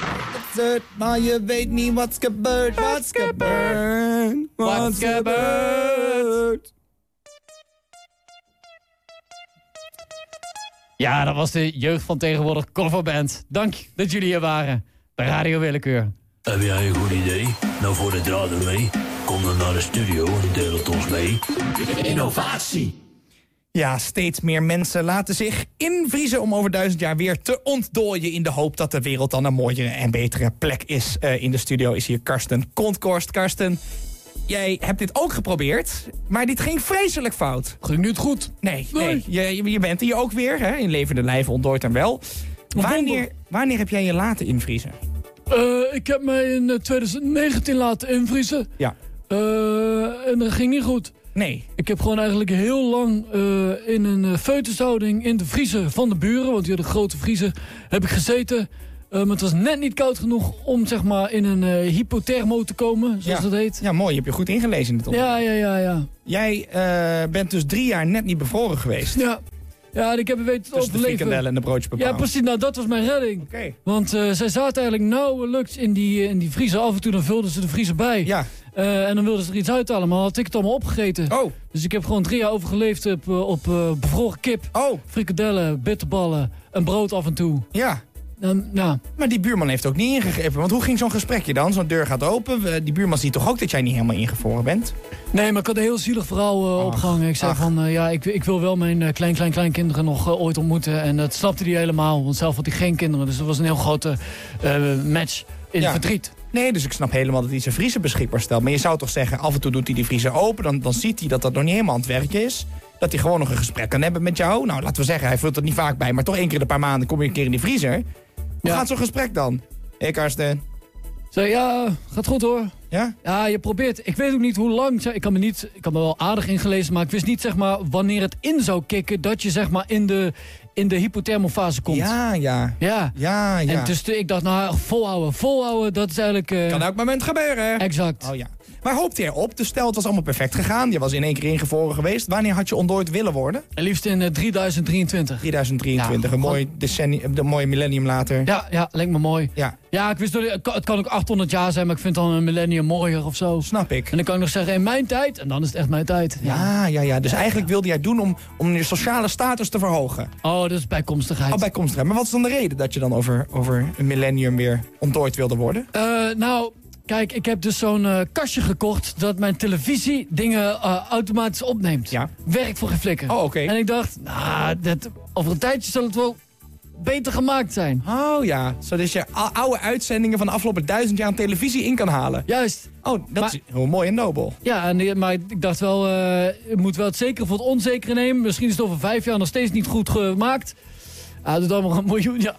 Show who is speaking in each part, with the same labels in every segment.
Speaker 1: luistert, maar je weet niet wat's gebeurd. Wat's gebeurd?
Speaker 2: Wat's gebeurd? Ja, dat was de jeugd van tegenwoordig coverband. Dank dat jullie er waren. Bij Radio Willekeur.
Speaker 3: Heb jij een goed idee? Nou voor de draden mee. Kom dan naar de studio en deel het ons mee. Innovatie.
Speaker 1: Ja, steeds meer mensen laten zich invriezen om over duizend jaar weer te ontdooien. In de hoop dat de wereld dan een mooiere en betere plek is. Eh, in de studio is hier Karsten Kontkorst. Karsten, jij hebt dit ook geprobeerd, maar dit ging vreselijk fout.
Speaker 2: Ging niet goed.
Speaker 1: Nee,
Speaker 2: Nee.
Speaker 1: nee. Je, je bent hier ook weer, hè? in levende lijven ontdooid en wel. Wanneer, wanneer heb jij je laten invriezen?
Speaker 2: ik heb mij in eh, 2019 laten invriezen.
Speaker 1: Ja.
Speaker 2: Eh, en dat ging niet goed.
Speaker 1: Nee.
Speaker 2: Ik heb gewoon eigenlijk heel lang eh, in een eh, foetushouding in de vriezer van de buren, want die hadden een grote vriezer, heb ik gezeten. Eh, maar het was net niet koud genoeg om zeg maar in een eh, hypothermo te komen, zoals
Speaker 1: Ja.
Speaker 2: dat heet.
Speaker 1: Ja, mooi. Je hebt je goed ingelezen in dit onderwerp.
Speaker 2: Ja, ja, ja, ja.
Speaker 1: Jij eh, bent dus drie jaar net niet bevroren geweest.
Speaker 2: Ja, ja en ik heb het weten te
Speaker 1: Tussen de frikandellen
Speaker 2: overleven.
Speaker 1: en de broodjes
Speaker 2: Ja, precies. Nou, dat was mijn redding.
Speaker 1: Oké.
Speaker 2: Want eh, zij zaten eigenlijk nauwelijks in die, eh, in die vriezer. Af en toe dan vulden ze de vriezer bij.
Speaker 1: Ja.
Speaker 2: Eh, en dan wilden ze er iets uithalen, maar had ik het allemaal opgegeten.
Speaker 1: Oh,
Speaker 2: Dus ik heb gewoon drie jaar overgeleefd op, eh, op eh, bevroren kip.
Speaker 1: oh,
Speaker 2: frikadellen, bitterballen, een brood af en toe.
Speaker 1: ja.
Speaker 2: En, nou,
Speaker 1: Maar die buurman heeft ook niet ingegrepen. Want hoe ging zo'n gesprekje dan? Zo'n deur gaat open. we- Die buurman ziet toch ook dat jij niet helemaal ingevroren bent?
Speaker 2: nee, maar ik had een heel zielig verhaal eh,
Speaker 1: Ach,
Speaker 2: opgehangen. Ik zei
Speaker 1: ach.
Speaker 2: van, eh, ja, ik, ik wil wel mijn eh, klein, klein, kleinkinderen nog eh, ooit ontmoeten. En dat snapte hij helemaal, want zelf had hij geen kinderen. Dus dat was een heel grote eh, match in
Speaker 1: Ja.
Speaker 2: verdriet.
Speaker 1: Nee, dus ik snap helemaal dat hij zijn vriezer beschikbaar stelt. Maar je zou toch zeggen, af en toe doet hij die vriezer open. Dan, dan ziet hij dat dat nog niet helemaal aan het werk is. Dat hij gewoon nog een gesprek kan hebben met jou. Nou, laten we zeggen, hij vult het niet vaak bij. Maar toch één keer in een paar maanden kom je een keer in die vriezer. Hoe
Speaker 2: Ja.
Speaker 1: gaat zo'n gesprek dan? Hé, Karsten.
Speaker 2: Zei, ja, gaat goed hoor.
Speaker 1: Ja?
Speaker 2: Ja, je probeert. Ik weet ook niet hoe lang. Ik kan me, niet, ik kan me wel aardig ingelezen, maar ik wist niet zeg maar, wanneer het in zou kicken dat je zeg maar, in, de, in de hypothermofase komt.
Speaker 1: Ja, ja.
Speaker 2: ja.
Speaker 1: Ja, ja.
Speaker 2: En dus te- ik dacht, nou, volhouden, volhouden, dat is eigenlijk... eh,
Speaker 1: Kan elk moment gebeuren.
Speaker 2: Exact.
Speaker 1: Oh ja. Maar hoopte je erop? Dus stel, het was allemaal perfect gegaan. Je was in één keer ingevroren geweest. Wanneer had je ontdooid willen worden?
Speaker 2: En liefst in eh, 3023.
Speaker 1: 2023, een
Speaker 2: Ja,
Speaker 1: mooi, decennium, een mooi millennium later.
Speaker 2: Ja, ja, lijkt me mooi.
Speaker 1: Ja,
Speaker 2: Ja, ik wist door, het kan- het kan ook 800 jaar zijn, maar ik vind dan een millennium mooier of zo.
Speaker 1: snap ik.
Speaker 2: En dan kan ik nog zeggen, in mijn tijd, en dan is het echt mijn tijd.
Speaker 1: Ja, ja, ja. Dus eigenlijk wilde jij het doen om, om je sociale status te verhogen.
Speaker 2: Oh, dat is bijkomstigheid.
Speaker 1: Al bij komstrijd. Maar wat is dan de reden dat je dan over, over een millennium weer ontdooid wilde worden?
Speaker 2: Eh, nou, kijk, ik heb dus zo'n eh, kastje gekocht dat mijn televisie dingen eh, automatisch opneemt.
Speaker 1: Ja.
Speaker 2: Werk voor geen flikker.
Speaker 1: Oh, oké.
Speaker 2: En ik dacht, nou, dat, over een tijdje zal het wel beter gemaakt zijn.
Speaker 1: Oh ja, zodat je al- oude uitzendingen van de afgelopen duizend jaar aan televisie in kan halen.
Speaker 2: Juist.
Speaker 1: Oh, dat
Speaker 2: Maar-
Speaker 1: is heel mooi en nobel.
Speaker 2: Ja, en, eh, maar ik dacht wel, eh je moet wel het zekere voor het onzekere nemen. Misschien is het over vijf jaar nog steeds niet goed gemaakt. Ah, doet allemaal een miljoen, ja.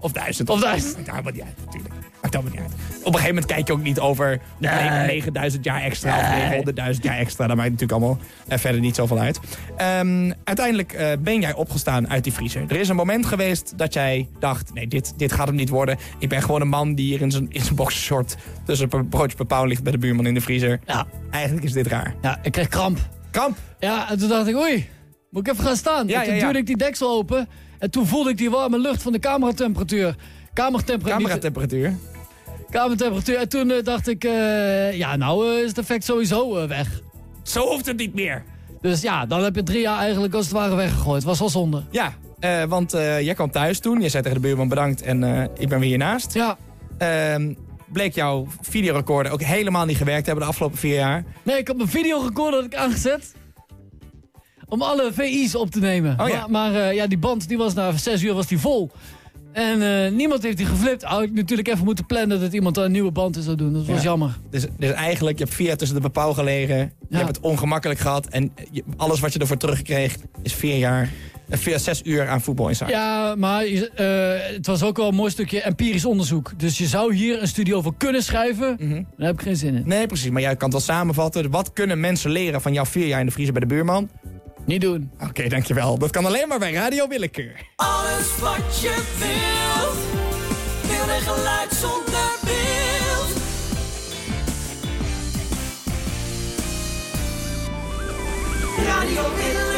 Speaker 1: Of duizend.
Speaker 2: Of duizend.
Speaker 1: Maakt allemaal niet uit, natuurlijk. Maakt allemaal niet uit. Op een gegeven moment kijk je ook niet over negen- 9000 jaar extra of 900.000 jaar extra. Dat maakt natuurlijk allemaal eh, verder niet zoveel uit. Ehm, uiteindelijk eh, ben jij opgestaan uit die vriezer. Er is een moment geweest dat jij dacht, nee, dit, dit gaat hem niet worden. Ik ben gewoon een man die hier in zijn, in zijn boxershort tussen een broodje per pauw ligt bij de buurman in de vriezer.
Speaker 2: Ja,
Speaker 1: Eigenlijk is dit raar.
Speaker 2: ja ik kreeg kramp.
Speaker 1: Kamp!
Speaker 2: Ja, en toen dacht ik, oei, moet ik even gaan staan.
Speaker 1: Ja,
Speaker 2: en toen
Speaker 1: ja, ja.
Speaker 2: duwde ik die deksel open en toen voelde ik die warme lucht van de kamertemperatuur. Kamertemperatuur.
Speaker 1: Cameratemperatuur.
Speaker 2: niet- kamertemperatuur. En toen eh, dacht ik, eh, ja, nou eh, is het effect sowieso eh, weg.
Speaker 1: Zo hoeft het niet meer.
Speaker 2: Dus ja, dan heb je drie jaar eigenlijk als het ware weggegooid. Was al zonde.
Speaker 1: Ja, eh, want eh, jij kwam thuis toen. Je zei tegen de buurman bedankt en eh, ik ben weer hiernaast.
Speaker 2: Ja,
Speaker 1: Ehm, bleek jouw videorecorder ook helemaal niet gewerkt te hebben de afgelopen vier jaar.
Speaker 2: nee, ik had mijn videorecorder had ik aangezet. Om alle VI's op te nemen.
Speaker 1: Oh, ja.
Speaker 2: Maar, maar, eh, ja, die band die was na zes uur was die vol. En eh, niemand heeft die geflipt. Oh, ik heb natuurlijk even moeten plannen dat iemand een nieuwe band zou doen. Dat was
Speaker 1: Ja.
Speaker 2: jammer.
Speaker 1: Dus, dus eigenlijk, je hebt vier jaar tussen de bepaal gelegen. Je
Speaker 2: Ja.
Speaker 1: hebt het ongemakkelijk gehad. En je- alles wat je ervoor terugkreeg is vier jaar, eh, vier, zes uur aan voetbal in
Speaker 2: Ja, maar je- eh, het was ook wel een mooi stukje empirisch onderzoek. Dus je zou hier een studie over kunnen schrijven.
Speaker 1: Mhm.
Speaker 2: Daar heb ik geen zin in.
Speaker 1: Nee, precies. Maar jij kan het wel samenvatten. Dus Wat kunnen mensen leren van jouw vier jaar in de vriezer bij de buurman?
Speaker 2: Niet doen.
Speaker 1: Oké, dankjewel. Dat kan alleen maar bij Radio Willekeur.
Speaker 4: Alles wat je wilt. Wil en geluid zonder beeld. Radio Willem.